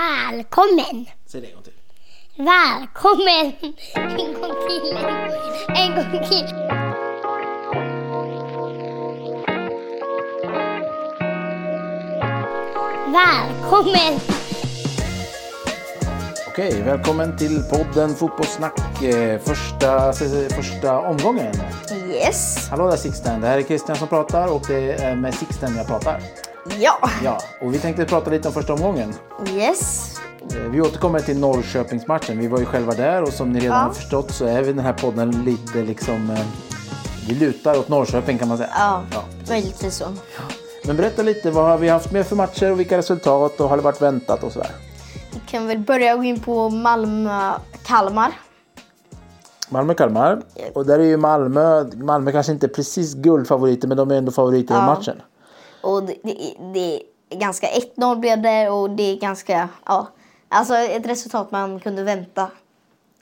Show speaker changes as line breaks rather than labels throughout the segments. Välkommen!
Säg det en gång till.
Välkommen! En gång till. En gång till. Välkommen!
Okej, välkommen till podden Fotbollssnack. eh, Första, eh, första omgången.
Yes.
Hallå där Sixten, det här är Christian som pratar och det är med Sixten jag pratar.
Ja.
Ja, och vi tänkte prata lite om första omgången.
Yes.
Eh, Vi återkommer till Norrköpingsmatchen. Vi var ju själva där och som ni redan
Ja.
har förstått så är vi den här podden lite liksom... eh, Vi lutar åt Norrköping kan man säga.
Ja,
Ja.
det var lite så.
Men berätta lite, vad har vi haft med för matcher och vilka resultat och har det varit väntat och sådär?
Vi kan väl börja gå in på Malmö-Kalmar.
Malmö-Kalmar. Och där är ju Malmö, Malmö kanske inte precis guldfavoriter men de är ändå favoriter i
Ja.
matchen.
Och det, det, det är ganska 1-0 blev det och det är ganska, ja. Alltså ett resultat man kunde vänta.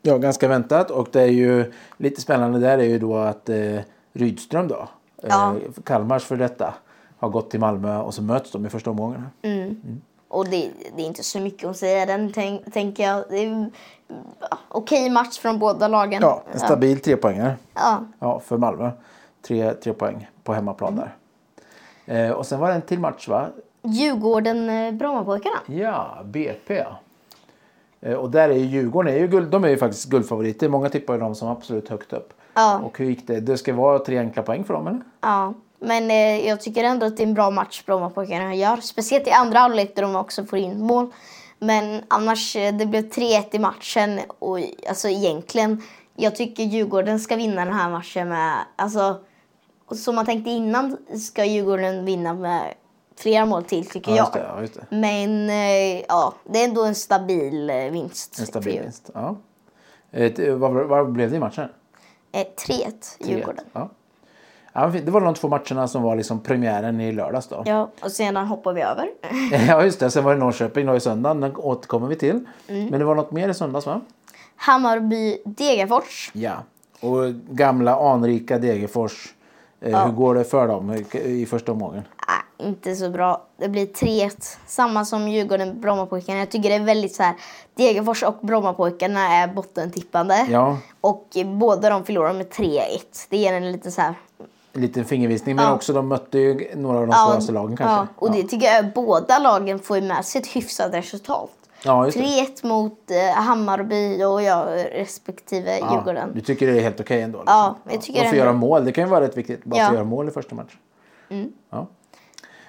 Ja, ganska väntat. Och det är ju lite spännande där är ju då att eh, Rydström då,
Ja.
eh, Kalmars för detta, har gått till Malmö och så möts de i första omgången.
Mm. Och det, det är inte så mycket att säga den, tänk, tänker jag. Det är en okej match från båda lagen.
Ja, en stabil trepoängare
Ja.
ja, för Malmö. Tre, tre poäng på hemmaplan där.
Mm.
Eh, och sen var det en till match va?
eh, Djurgården-Brommapojkarna.
Ja, BP. Eh, Och där är ju Djurgården, är ju guld, de är ju faktiskt guldfavoriter. Många tippar ju dem som absolut högt upp.
Ja.
Och hur gick det? Det ska vara tre enkla poäng för dem eller?
Ja, men eh, jag tycker ändå att det är en bra match Brommapojkarna gör. Speciellt i andra halvlek där de också får in mål. Men annars, eh, det blev 3-1 i matchen och alltså egentligen, jag tycker Djurgården ska vinna den här matchen med, alltså, och som man tänkte innan ska Djurgården vinna med flera mål till tycker
Ja, just
jag.
det, ja, just det.
Men eh, ja, det är ändå en stabil eh, vinst.
En
för
stabil
Djurgården.
vinst. Ja. Ett, eh, vad, vad blev det i matchen?
Eh, 3-1 Djurgården.
Ja. Ja, men fint. det var de två matcherna som var liksom premiären i lördags då.
Ja, och sedan hoppar vi över.
Ja, just det. Sen var det Norrköping då i söndagen. Den återkommer vi till.
Mm.
Men det var något mer i söndags va?
Hammarby-Degerfors.
Ja. Och gamla anrika Degerfors. Eh, Hur går det för dem i- i första omgången?
Ah, inte så bra. Det blir 3-1. Samma som Djurgården Brommapojkarna. Jag tycker det är väldigt så här. Degerfors och Brommapojkarna är bottentippande.
Ja,
Och eh, båda de förlorar med 3-1. Det ger en lite så här.
en liten fingervisning. Men
Ja.
också de mötte ju några av de
ja,
svåraste lagen kanske.
Ja, och det
Ja.
tycker jag båda lagen får ju med sig ett hyfsat resultat.
Ja, just det.
3-1 mot eh, Hammarby och jag respektive
Ja,
Djurgården.
Du tycker det är helt okej ändå? liksom.
Ja, jag tycker
Man får
ändå-
göra mål. Det kan ju vara rätt viktigt. Bara
Ja. Mm.
få göra mål i första matchen. Ja.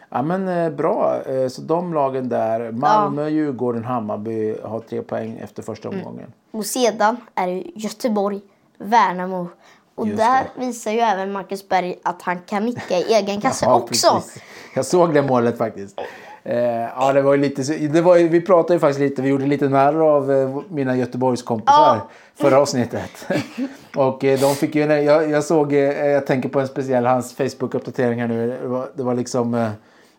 ja, men eh, bra. Eh, Så de lagen där. Malmö, Djurgården, Hammarby har tre poäng efter första
Mm.
omgången.
Och sedan är det Göteborg, Värnamo. Och
Just
där visar ju även Marcus Berg att han kan nicka i egen kasse
Ja,
också.
precis. Jag såg det målet faktiskt. Eh, ja, det var ju lite, så- det var, ju- vi pratade ju faktiskt lite, vi gjorde lite narr av eh, mina Göteborgskompisar
Ja.
förra avsnittet. och eh, de fick ju, en- jag, jag såg, eh, jag tänker på en speciell, hans Facebook-uppdatering här nu. Det var, det var liksom, eh,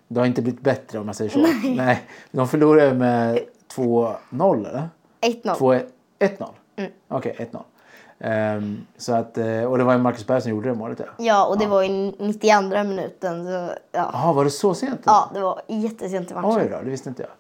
det har inte blivit bättre om man säger så. Nej. de förlorade med 2-0 eller?
1-0.
2-1, 1-0?
Mm.
Okej, 1-0. Ehm, så att, eh, och det var ju Marcus Berg som gjorde det målet. ja.
Ja, och det var i 92 minuten. Så, ja.
Jaha, var det så sent?
ja, det var jättesent i matchen.
Oj då, det visste inte jag.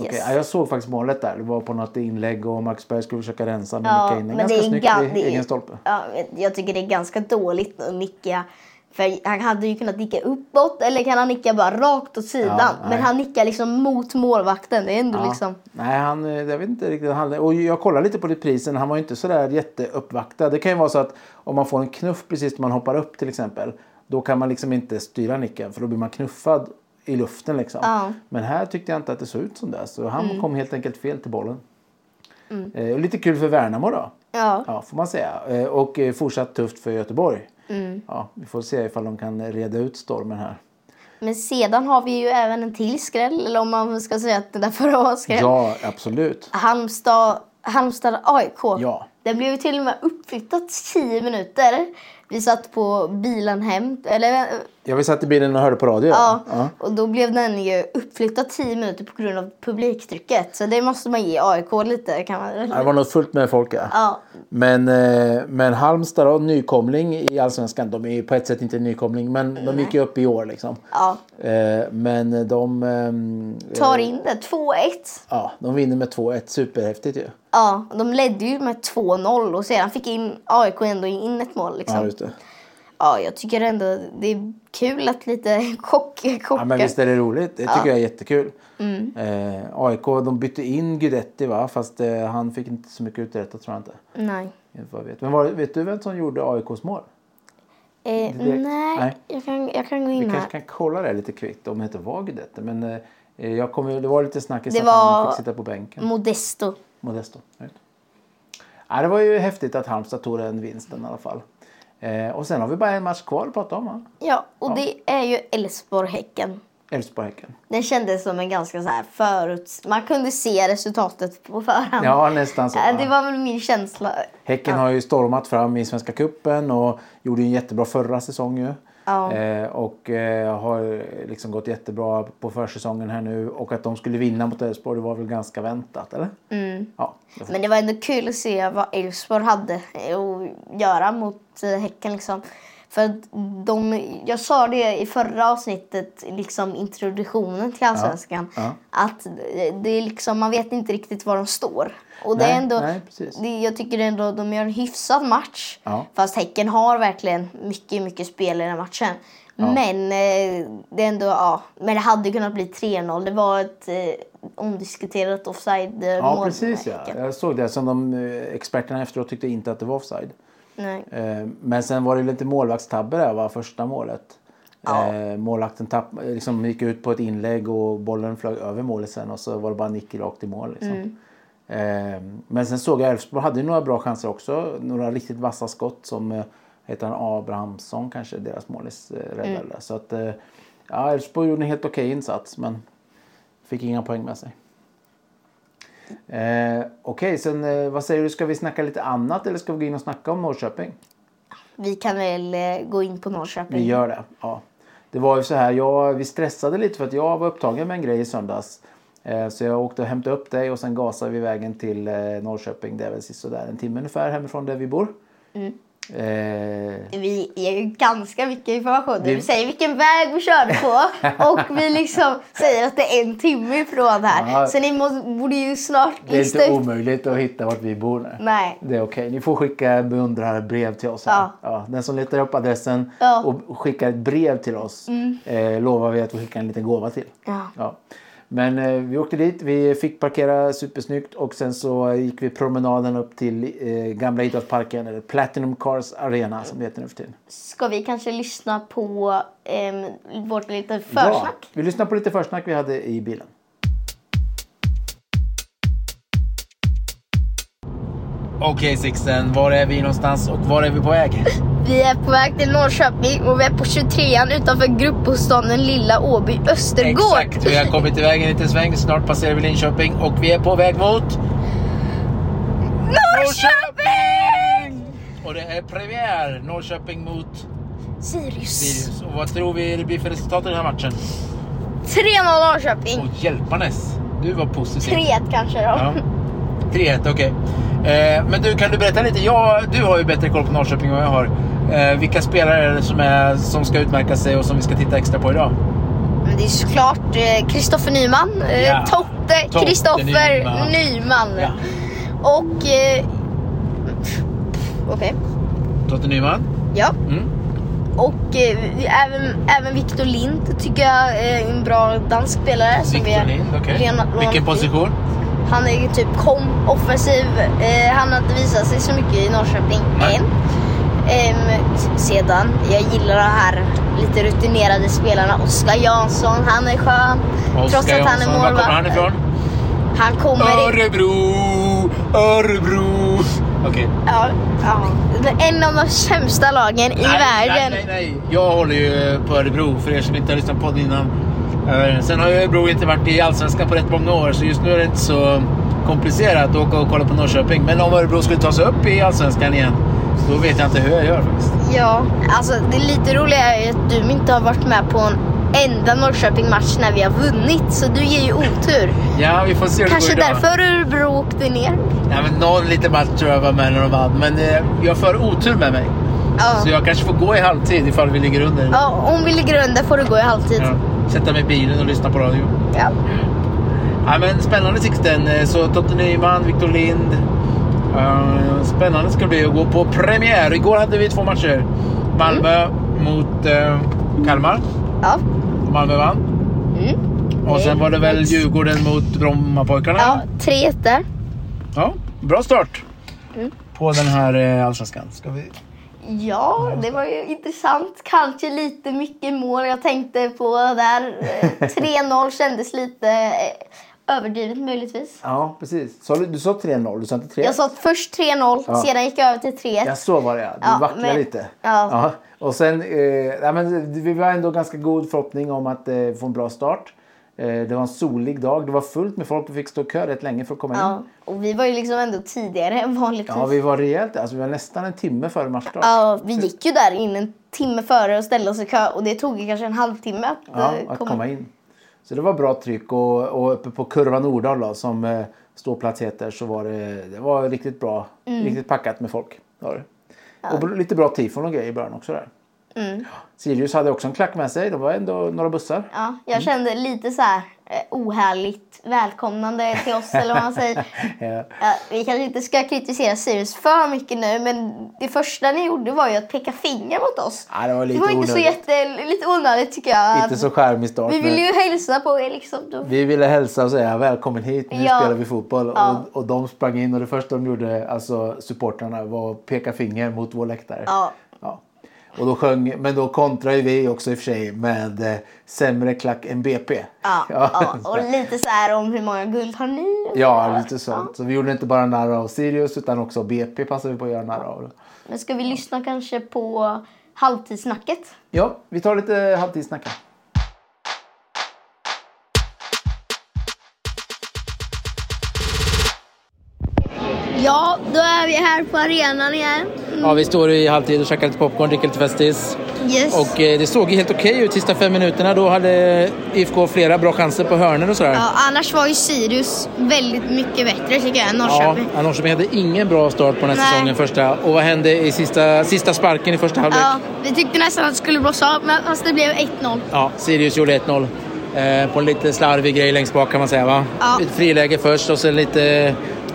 Yes.
Okej, ja, jag såg faktiskt målet där. Det var på något inlägg och Max Berg skulle försöka rensa men
Ja,
nickade in den ganska
är
snyggt
ga-
i
det är-
egen stolpe.
Ja, jag tycker det är ganska dåligt att nicka. För han hade ju kunnat nicka uppåt eller kan han nicka bara rakt åt sidan.
Ja, nej.
men han nickar liksom mot målvakten. Det är ändå
Ja.
liksom...
Nej, han, eh, jag vet inte riktigt. Han, och jag kollade lite på det prisen. Han var ju inte sådär jätteuppvaktad. Det kan ju vara så att om man får en knuff precis när man hoppar upp till exempel. Då kan man liksom inte styra nicken för då blir man knuffad i luften liksom.
Ja. Mm.
Men här tyckte jag inte att det såg ut som det. Så han kom helt enkelt fel till bollen. Eh, och lite kul för Värnamo då.
Ja.
Ja, får man säga. Eh, Och eh, fortsatt tufft för Göteborg.
Mm.
Ja, vi får se ifall de kan reda ut stormen här.
Men sedan har vi ju även en till skräll. Eller om man ska säga att det där förra var skräll.
Ja, absolut.
Halmstad, Halmstad AIK.
Ja.
Det blev ju till och med uppflyttat 10 minuter. Vi satt på bilen hem, eller eh,
Ja, vi satt i bilen och hörde på radio.
ja,
Ja.
och då blev den ju uppflyttad 10 minuter på grund av publiktrycket. Så det måste man ge AIK lite kan man
Det var nog fullt med folk. Ja.
Ja,
Men, eh, men Halmstad och nykomling i Allsvenskan, de är ju på ett sätt inte nykomling men de gick ju upp i år liksom.
ja.
Eh, Men de, ehm, eh,
Tar in det, 2-1.
ja, de vinner med 2-1, superhäftigt ju.
Ja, de ledde ju med 2-0 och sedan fick in AIK ändå in ett mål. Liksom.
Ja, just
Ja,
det.
jag tycker ändå det är kul att lite kock, kockar...
Ja, men visst är det roligt? Det tycker jag är jättekul.
Mm.
Eh, AIK, de bytte in Guidetti va? Fast eh, han fick inte så mycket uträttat tror jag inte.
Nej.
Inte vad jag vet. Men var, vet du vem som gjorde AIKs mål?
Eh,
Det- det-
nej,
nej.
Jag, kan, jag kan gå
Vi
in här.
kanske kan kolla det lite kvickt om det inte var Guidetti. Men eh, jag kommer, det var lite snackis
Det
att
var- Mm.
han fick sitta på bänken.
Modesto.
Modesto. right. Ja, det var ju häftigt att Halmstad tog den vinsten i alla fall. Eh, och sen har vi bara en match kvar att prata om. va?
Ja, och det är ju Elfsborg-Häcken.
Elfsborg-Häcken.
Den kändes som en ganska så här förut... Man kunde se resultatet på förhand.
Ja, nästan så.
Eh, Det
va?
var väl min känsla.
Häcken har ju stormat fram i Svenska Kuppen och gjorde ju en jättebra förra säsong ju.
Ja.
Eh, och eh, har liksom gått jättebra på försäsongen här nu. Och att de skulle vinna mot Elfsborg det var väl ganska väntat, eller? Ja.
Men det var ändå kul att se vad Elfsborg hade eh, att göra mot eh, Häcken. Liksom. För att de, jag sa det i förra avsnittet, liksom introduktionen till Allsvenskan,
ja.
att eh, det är liksom, man vet inte riktigt var de står. Och det är
Nej,
ändå,
nej, precis.
det, jag tycker ändå att de gör en hyfsad match.
Ja.
Fast Häcken har verkligen mycket, mycket spel i den här matchen. Men, eh, det är ändå, ja, men det hade ju kunnat bli 3-0. Det var ett eh, omdiskuterat offside-mål.
Ja,
med
precis ja.
Häcken.
Jag såg det som de eh, experterna efteråt tyckte inte att det var offside.
Nej.
Eh, Men sen var det lite målvaktstabbe där, va? första målet.
Ja.
Eh, målvakten tapp, liksom gick ut på ett inlägg och bollen flög över målet sen och så var det bara nick rakt i mål. Liksom. Eh, men sen såg jag Elfsborg hade ju några bra chanser också. Några riktigt vassa skott som eh, heter han Abrahamsson kanske, deras målis eh, räddade. Så att eh, ja, Elfsborg gjorde en helt okej insats men fick inga poäng med sig. Eh, okej, sen eh, vad säger du, ska vi snacka lite annat eller ska vi gå in och snacka om Norrköping?
Vi kan väl eh, gå in på Norrköping.
Vi gör det. Ja. Det var ju så här, jag, vi stressade lite för att jag var upptagen med en grej i söndags. Eh, så jag åkte och hämtade upp dig och sen gasade vi vägen till eh, Norrköping. Det är väl sådär en timme ungefär hemifrån där vi bor.
Mm.
Eh,
Vi ger ju ganska mycket information. Vi
Vi-
säger vilken väg vi körde på och vi liksom säger att det är en timme ifrån här.
Ja.
Så ni måste, borde ju snart
det är
lista
inte
ut-
omöjligt att hitta vart vi bor nu.
Nej.
Det är okej. Ni får skicka beundrarbrev till oss. Här.
Ja.
den som letar upp adressen
Ja. Mm.
och skickar ett brev till oss eh, lovar vi att vi skickar en liten gåva till.
Ja.
Men eh, vi åkte dit, vi fick parkera supersnyggt och sen så gick vi promenaden upp till eh, gamla idrottsparken, eller Platinum Cars Arena som det heter nu för tiden.
Ska vi kanske lyssna på em, vårt lite försnack?
Ja, vi lyssnar på lite försnack vi hade i bilen. Okej Sixten, var är vi någonstans och var är vi på väg?
Vi är på väg till Norrköping och vi är på 23an utanför gruppbostaden Lilla Åby Östergård.
Exakt, vi har kommit iväg en liten sväng. Snart passerar vi Linköping och vi är på väg mot Norrköping! Och det är premiär Norrköping mot
Sirius.
Sirius. Och vad tror vi det blir för resultat i den här matchen?
3-0 Norrköping.
Och hjälparnes, du var positiv.
3-1 kanske då.
Ja. 3-1, okej. Eh, men du, kan du berätta lite? Ja, du har ju bättre koll på Norrköping än vad jag har. Eh, vilka spelare är det som, är, som ska utmärka sig och som vi ska titta extra på idag?
Men det är såklart eh, Kristoffer Nyman, eh,
Ja.
Totte
Totte
Kristoffer
Nyman.
Nyman.
Ja.
Och... Eh, Okej.
Totte Nyman?
Ja.
Mm.
Och eh, vi- även, även Victor Lind tycker jag är en bra dansk spelare. som vi
Victor
har
Lind, okej.
lånat- lånat
Vilken
ut.
position?
Han är ju typ kom offensiv. Eh, han har inte visat sig så mycket i Norrköping
Nej.
än. Ehm, sedan, jag gillar de här lite rutinerade spelarna. Oskar Jansson, han är skön. trots att han är
Jansson, Var
målvakt.
kommer han ifrån?
Han kommer in.
Örebro! Örebro! Okej.
Ja, ja. En av de sämsta lagen
Nej,
i världen.
Nej, nej, nej. Jag håller ju på Örebro för er som inte har lyssnat på det innan. Eh, Sen har ju Örebro inte varit i Allsvenskan på rätt många år så just nu är det inte så komplicerat att åka och kolla på Norrköping. Men om Örebro skulle ta sig upp i Allsvenskan igen Så då vet jag inte hur jag gör faktiskt.
Ja, alltså det lite roliga är ju att du inte har varit med på en enda Norrköping-match när vi har vunnit, så du ger ju otur.
Ja, vi får se hur
Kanske
det går idag.
därför Örebro åkte ner.
Nej, men någon liten match tror jag var med när de vann. Men eh, jag för otur med mig.
Ja.
Så jag kanske får gå i halvtid ifall vi ligger under.
ja, om vi ligger under får du gå i halvtid.
Ja. Sätta mig i bilen och lyssna på radio.
Ja.
Ja, men spännande sikten. Eh, Så Totte Nyman, Victor Lind. Eh, Spännande ska det bli att gå på premiär. Igår hade vi två matcher. Malmö
Mm.
mot eh, Kalmar.
Ja.
Malmö vann.
Mm.
Och sen var det väl
Nice.
Djurgården mot Brommapojkarna.
ja, tre där.
Ja, bra start
Mm.
på den här eh, allsvenskan. Ska vi...
Ja, det var ju intressant. Kanske lite mycket mål jag tänkte på där. Eh, 3-0 kändes lite eh, överdrivet möjligtvis.
Ja, precis. Sa Du du sa 3-0, du sa inte 3
Jag sa först 3-0,
Ja.
sedan gick jag över till 3-1.
Ja, så var det ja. Du
Ja,
vacklade
men-
lite.
ja.
Och sen, eh, nej, men vi var ändå ganska god förhoppning om att eh, få en bra start. Eh, det var en solig dag. Det var fullt med folk. Vi fick stå i kö rätt länge för att komma in.
Ja, och vi var ju liksom ändå tidigare än vanligtvis.
Ja, vi var rejält. Alltså, vi var nästan en timme före matchstart.
Ja, vi gick ju där in en timme före och ställde oss i kö och det tog ju kanske en halvtimme att,
Ja,
eh,
att komma in. Så det var bra tryck och, och uppe på Kurva Nordahl då, som eh, ståplats heter så var det, det var riktigt bra.
Mm.
Riktigt packat med folk. Var det. Och br- lite bra tifon och grejer i början också där.
Mm.
Sirius hade också en klack med sig. Det var ändå några bussar.
Ja,
Mm.
jag kände lite så här eh, ohärligt välkomnande till oss eller vad man säger.
Eh,
Ja, vi kanske inte ska kritisera Sirius för mycket nu men det första ni gjorde var ju att peka finger mot oss.
Ja, det var lite
det var inte så
onödigt.
jätte, lite onödigt tycker jag.
Inte så charmig start.
vi ville
men
ju hälsa på er liksom. Då.
vi ville hälsa och säga välkommen hit, nu
Ja.
spelar vi fotboll.
Ja.
Och, och de sprang in och det första de gjorde, alltså supportrarna, var att peka finger mot vår läktare.
Ja,
Ja. Och då sjöng, men då kontrade ju vi också i och för sig med eh, sämre klack än BP.
ja, ja.
så-
Och lite så här om hur många guld har ni?
ja lite sånt. Så vi gjorde inte bara narr av Sirius utan också BP passade vi på att göra narr av.
Men ska vi lyssna kanske på halvtidssnacket?
Ja, vi tar lite halvtidssnack här.
Ja, då är vi här på arenan igen.
Ja, vi står i halvtid och käkar lite popcorn, dricker lite Festis.
Yes.
Och eh, det såg ju helt okej ut sista fem minuterna. Då hade IFK flera bra chanser på hörnor och sådär.
ja, annars var ju Sirius väldigt mycket bättre tycker jag än Norrköping.
Ja, Norrköping hade ingen bra start på den här
Nej.
säsongen första. Och vad hände i sista, sista sparken i första halvlek?
Ja, vi tyckte nästan att det skulle blåsa av, men fast det blev 1-0.
Ja, Sirius gjorde 1-0. Eh, på en lite slarvig grej längst bak kan man säga va?
Ja.
Ett friläge först och sen lite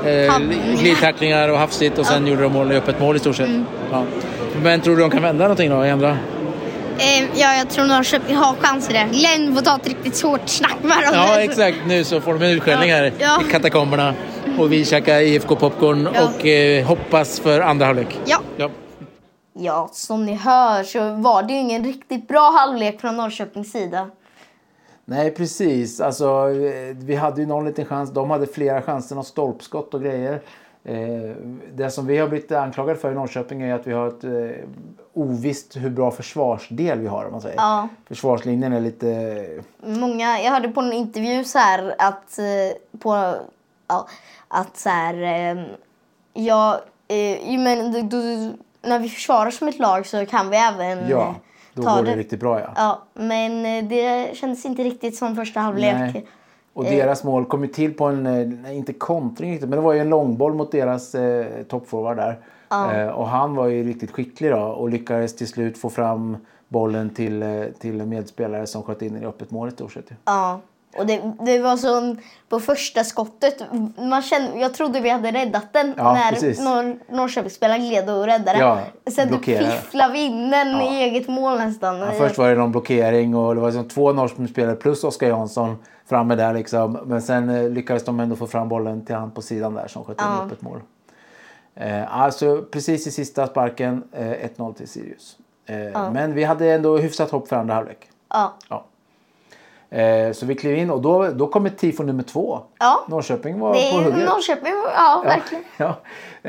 eh,
Tappningar.
glidtacklingar och hafsigt och sen gjorde de mål, öppet mål i stort sett.
Mm.
Ja. Men tror du de kan vända någonting då i andra?
Eh, ja, jag tror Norrköping har chanser där. Glenn får ta ett riktigt hårt snack med dem.
Ja, exakt. Nu så får de en utskällning här
Ja.
i katakomberna. Och vi käkar IFK-popcorn
Ja.
och eh, hoppas för andra halvlek.
Ja.
Ja.
Ja, som ni hör så var det ju ingen riktigt bra halvlek från Norrköpings sida.
Nej, precis. Alltså, eh, vi hade ju någon liten chans. De hade flera chanser, och stolpskott och grejer. Eh, Det som vi har blivit anklagade för i Norrköping är att vi har ett eh, ovisst hur bra försvarsdel vi har. Om man säger.
Ja.
Försvarslinjen är lite
Många, jag hörde på en intervju så här att, eh, på, ja, att så här, eh, ja, eh, ju men, du, du, när vi försvarar som ett lag så kan vi även eh,
Ja, då
ta
går det riktigt bra ja.
Ja, men eh, det kändes inte riktigt som första halvlek.
Nej. Och deras mål kom ju till på en, eh, nej, inte kontring riktigt, men det var ju en långboll mot deras eh, toppforward där. Eh, och han var ju riktigt skicklig då och lyckades till slut få fram bollen till, eh, till en medspelare som sköt in i öppet mål i stort sett. ju.
Ja. Och det, det var så på första skottet, man kände, jag trodde vi hade räddat den
Ja, precis.
när Nor Norrköpingsspelaren gled och räddade.
Ja,
Sen
blockerade.
fifflade vi in den
Ja.
i eget mål nästan.
Ja, först var det någon blockering och det var liksom två Norrköpingsspelare plus Oskar Jansson framme där liksom. Men sen eh, lyckades de ändå få fram bollen till han på sidan där som sköt in i öppet mål. Eh, alltså precis i sista sparken eh, 1-0 till Sirius. Eh, Men vi hade ändå hyfsat hopp för andra halvlek.
Ja.
Ja. Eh, så vi klev in och då, då kom ett tifo nummer två.
Ja.
Norrköping var
Det
på
är ju
hugget.
Norrköping, ja verkligen.
Ja.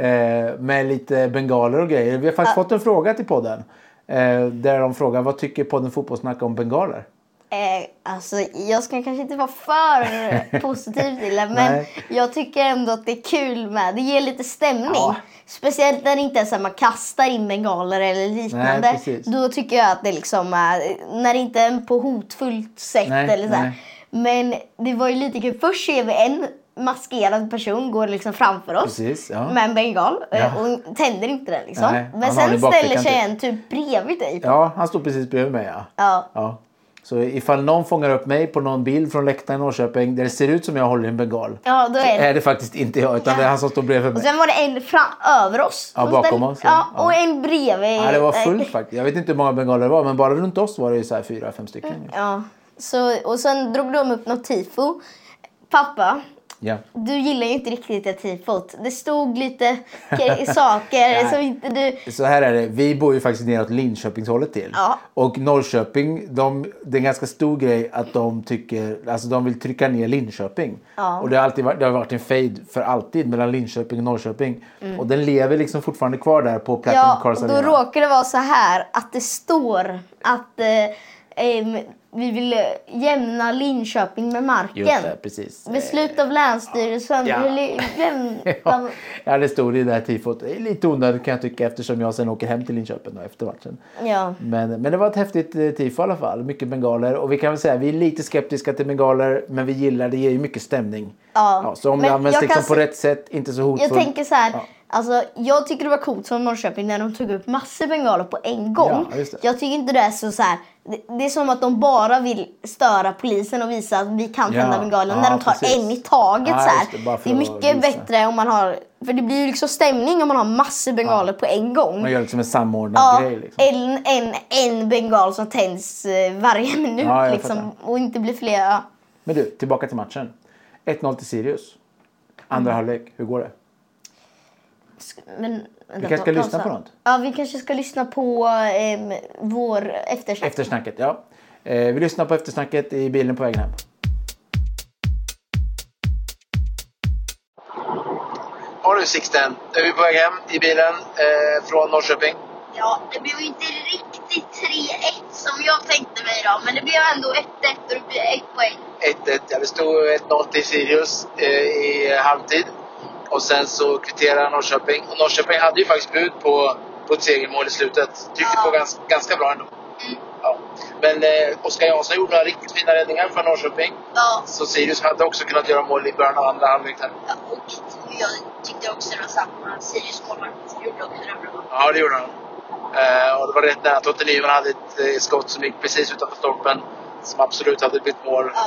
Eh, med lite bengaler och grejer. Vi har faktiskt fått en fråga till podden. Eh, där de frågar vad tycker podden Fotbollssnack om bengaler?
Eh, alltså, jag ska kanske inte vara för positiv till det, men
Nej.
jag tycker ändå att det är kul med. Det ger lite stämning.
Ja.
Speciellt när det inte är så att man kastar in bengaler eller liknande.
precis.
Då tycker jag att det liksom är, när det inte är på hotfullt sätt
Nej,
eller så här.
nej.
Men det var ju lite kul. Först ser vi en maskerad person gå liksom framför oss
Precis, ja.
med en bengal eh,
Ja.
och tänder inte den liksom.
Nej, han
Men
har den i
sen ställer
bakfickan
sig
typ.
en typ bredvid dig.
Ja, han står precis bredvid mig. Ja.
Ja.
Ja. Så ifall någon fångar upp mig på någon bild från läktaren i Norrköping där det ser ut som jag håller i en bengal.
Ja, då är det
Är det faktiskt inte jag utan det är han som står bredvid
Och
mig.
sen var det en fram, över oss.
Ja,
Och
bakom
sen-
oss, ja.
Ja,
Ja.
och en bredvid. Eh,
Ja, det var fullt faktiskt. Jag vet inte hur många bengaler det var men bara runt oss var det ju så här fyra, fem stycken.
Ja. Så, och sen drog de upp något tifo. Pappa,
Ja.
du gillar ju inte riktigt det tifot. Det stod lite ke- saker som inte du...
Så här är det, vi bor ju faktiskt neråt Linköpingshållet till.
Ja.
Och Norrköping, de, det är en ganska stor grej att de tycker, alltså de vill trycka ner Linköping.
Ja.
Och det har, alltid varit, det har varit en fejd för alltid mellan Linköping och Norrköping. Och den lever liksom fortfarande kvar där på Platinum
Mm. Ja,
Cars
och då
Arena.
råkar det vara så här att det står att eh, em, vi vill eh, jämna Linköping med marken.
Just det, precis.
Beslut av Länsstyrelsen.
Ja.
Ja. Jämna...
Ja, ja, det stod i det här tifot. Det är Lite onödigt kan jag tycka eftersom jag sen åker hem till Linköping då, efter matchen.
ja.
Men, men det var ett häftigt eh, tifo i alla fall. Mycket bengaler. Och vi kan väl säga vi är lite skeptiska till bengaler men vi gillar det. ger ju mycket stämning.
Ja.
så om det
Men
används
jag
liksom
kan
på
se-
rätt sätt, inte så hotfullt.
Jag tänker så här,
Ja.
alltså, jag tycker det var coolt som Norrköping när de tog upp massor bengaler på en gång.
Ja, just det.
jag tycker inte det är så, så här, det, det är som att de bara vill störa polisen och visa att vi kan
Ja,
tända bengaler när
ja,
de tar
precis.
en i taget.
Ja,
så här.
just det, bara för
det är
att
mycket
visa.
bättre om man har, för det blir ju liksom stämning om man har massor bengaler på en gång.
Man gör det som en samordnad
Ja, Eh.
grej. Liksom.
en, en, en bengal som tänds eh, varje minut
Ja, jag
liksom,
fattar.
och inte blir fler. Ja.
Men du, tillbaka till matchen. 1-0 till Sirius.
Mm.
Andra halvlek, hur går det?
Men, vänta,
kanske ska
pa-
lyssna
pausa.
på något?
Ja, vi kanske ska lyssna på ehm, vår eftersnack.
Eftersnacket, ja. Eh, vi lyssnar på eftersnacket i bilen på vägen hem. Ja du Sixten, då är vi på väg hem i bilen eh, från Norrköping.
Ja, det blev ju inte riktigt 3-1 som jag tänkte mig då, men det blev ändå 1-1 och det blev ett poäng.
1-1. Ja, det stod 1-0 till Sirius eh, i halvtid. Och sen så kvitterade Norrköping. Och Norrköping hade ju faktiskt bud på, på ett segermål i slutet. Tyckte på ganska, ganska bra ändå. Ja. Men eh, Oskar Jansson gjorde några riktigt fina räddningar för Norrköping.
Ja,
Så Sirius hade också kunnat göra mål i början av andra halvlek. här.
ja, och jag tyckte också det var samma. Sirius målvakt gjorde också det bra.
Ja, det gjorde han. Eh, och det var rätt nära. Totte Nyman hade ett eh, skott som gick precis utanför stolpen. Som absolut hade blivit mål.
Ja,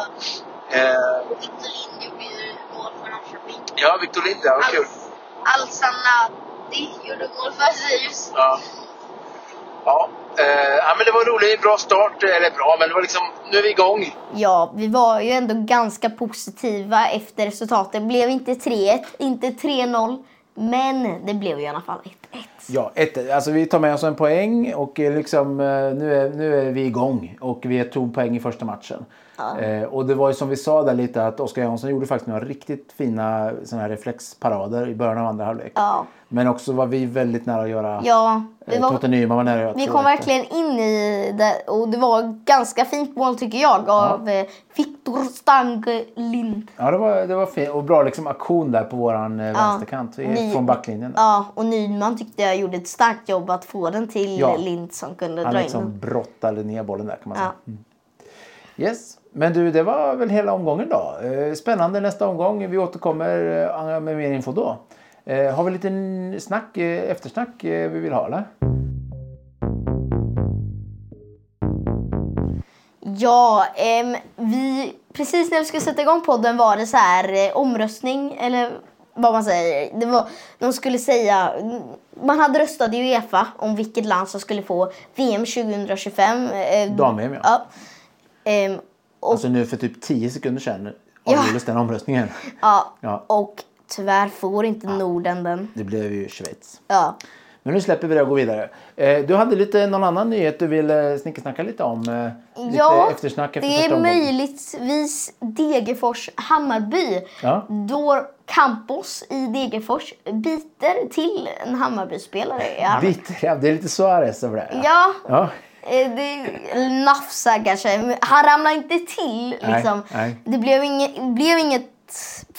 Eh,
och Victor Lind gjorde ju mål för Norrköping.
ja, Victor Lind ja. Vad kul.
Al- Al-Sanadi gjorde mål för Sirius.
Ja. Ja, eh, ja, men det var en rolig, bra start. Eller bra, men det var liksom, nu är vi igång.
Ja, vi var ju ändå ganska positiva efter resultatet. Det blev inte 3-1, inte 3-0, men det blev ju i alla fall 1-1.
Ja, ett, alltså vi tar med oss en poäng och eh, liksom, eh, nu, är, nu är vi igång och vi tog poäng i första matchen. Eh, och det var ju som vi sa där lite att Oskar Jansson gjorde faktiskt några riktigt fina såna här reflexparader i början av andra halvlek.
Ja.
Men också var vi väldigt nära att göra...
Ja, det
eh, Totte
var,
Nyman var nära att göra
vi
2-1.
kom verkligen in i det och det var ett ganska fint mål tycker jag av ja. Viktor Stange Lind.
Ja, det var, det var fint. Och bra liksom aktion där på våran eh, vänsterkant. eh,
Ny-
Från backlinjen.
Ja, och Nyman tyckte jag gjorde ett starkt jobb att få den till
Ja.
Lind som kunde
Han
dra
liksom
in den.
brottade ner bollen där kan man
Ja.
säga. Mm. Yes. Men du, det var väl hela omgången då. Eh, Spännande nästa omgång. Vi återkommer eh, med mer info då. Eh, Har vi lite n- snack, eh, eftersnack eh, vi vill ha eller?
Ja, ehm, vi, precis när vi skulle sätta igång podden var det så här eh, omröstning eller vad man säger. Det var, de skulle säga, man hade röstat i Uefa om vilket land som skulle få VM 2025. Eh,
Dam-VM, ja.
ja. Ehm, och,
Alltså nu för typ 10 sekunder sedan avgjordes den omröstningen.
ja,
Ja.
och tyvärr får inte Norden den.
Det blev ju Schweiz.
Ja.
Men nu släpper vi det och går vidare. Eh, Du hade lite någon annan nyhet du ville snickesnacka lite om. eh, Lite eftersnack efter
det
första
är
omgången.
möjligtvis Degerfors-Hammarby.
Ja.
Då Campos i Degerfors biter till en Hammarbyspelare. i armen.
Bitter, ja, det är lite Suarez över det. här.
Ja,
ja.
eh, det, eller nafsa kanske. Men Han ramlade inte till
Nej,
liksom.
nej.
Det blev inget, blev inget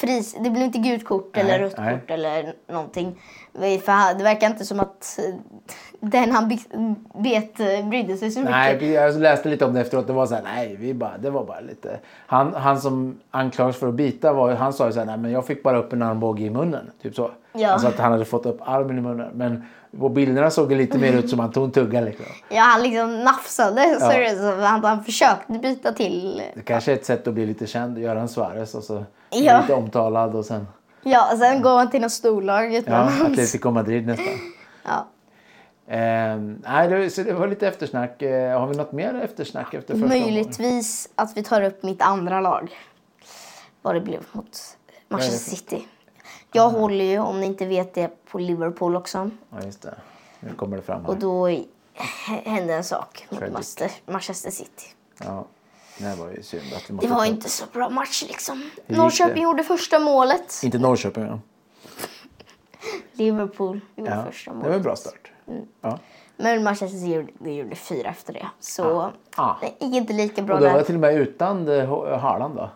pris. Det blev inte gult kort eller
Nej,
rött
nej.
kort eller någonting. Men För han- det verkar inte som att eh, den han bi- bet eh, brydde sig så mycket.
Nej, precis. jag läste lite om det efteråt. Det var så här, nej, vi bara, det var bara lite. Han, han som anklagades för att bita, var, han sa ju så här, nej men jag fick bara upp en armbåge i munnen. Typ så.
Ja.
Alltså att han hade fått upp armen i munnen. Men på bilderna såg det lite mer ut som han tog en tugga liksom.
Ja, han liksom nafsade. Så
Ja.
är det som att han, han försökte byta till.
Det kanske är ett sätt att bli lite känd, göra en Suarez och så bli
Ja.
lite omtalad och sen,
Ja, och sen går han till något storlag
ja,
utomlands.
Atletico Madrid nästan.
Ja.
Ehm, nej, det, så det var lite eftersnack. Eh, har vi något mer eftersnack efter första omgången?
Möjligtvis att vi tar upp mitt andra lag. Vad det blev mot Manchester City. Jag
Mm.
håller ju, om ni inte vet det, på Liverpool också.
Ja, just det. Nu kommer det fram
Och
här.
då i- hände en sak mot
Tragic.
Manchester, Manchester City.
Ja. Det var ju synd att vi måste
Det var
ta-
inte så bra match liksom.
det?
Norrköping gjorde första målet.
Inte Norrköping, ja.
Liverpool gjorde
ja.
första
Det var en
målet. Mm.
bra start. Ja.
Men Manchester City gjorde, gjorde fyra efter det. Så
Ah.
det gick inte lika bra
Och då var det
där.
till och med utan eh, Ho- Haaland då.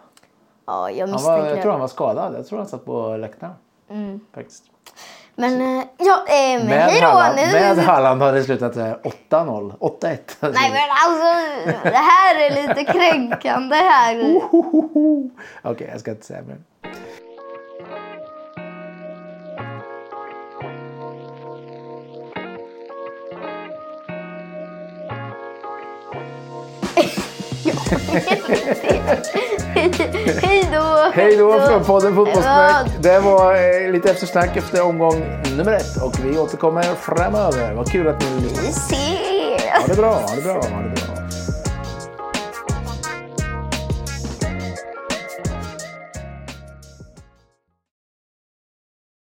Ja, jag
Han var,
misstänker
jag
det.
tror han var skadad. Jag tror han satt på läktaren. Faktiskt.
Men eh, ja, eh, men
Med,
Mm. hej då
Haaland,
nu!
med Haaland hade det slutat eh, 8-0. 8-1.
Nej men alltså, det här är lite kränkande här.
Okej, jag ska inte säga mer.
Hej då!
Hej då från podden
Hej
Fotbollssnack. Det var eh, lite eftersnack efter omgång nummer ett och vi återkommer framöver. Vad kul att ni
Vi ses!
Ha det bra, ha det bra, ha det bra.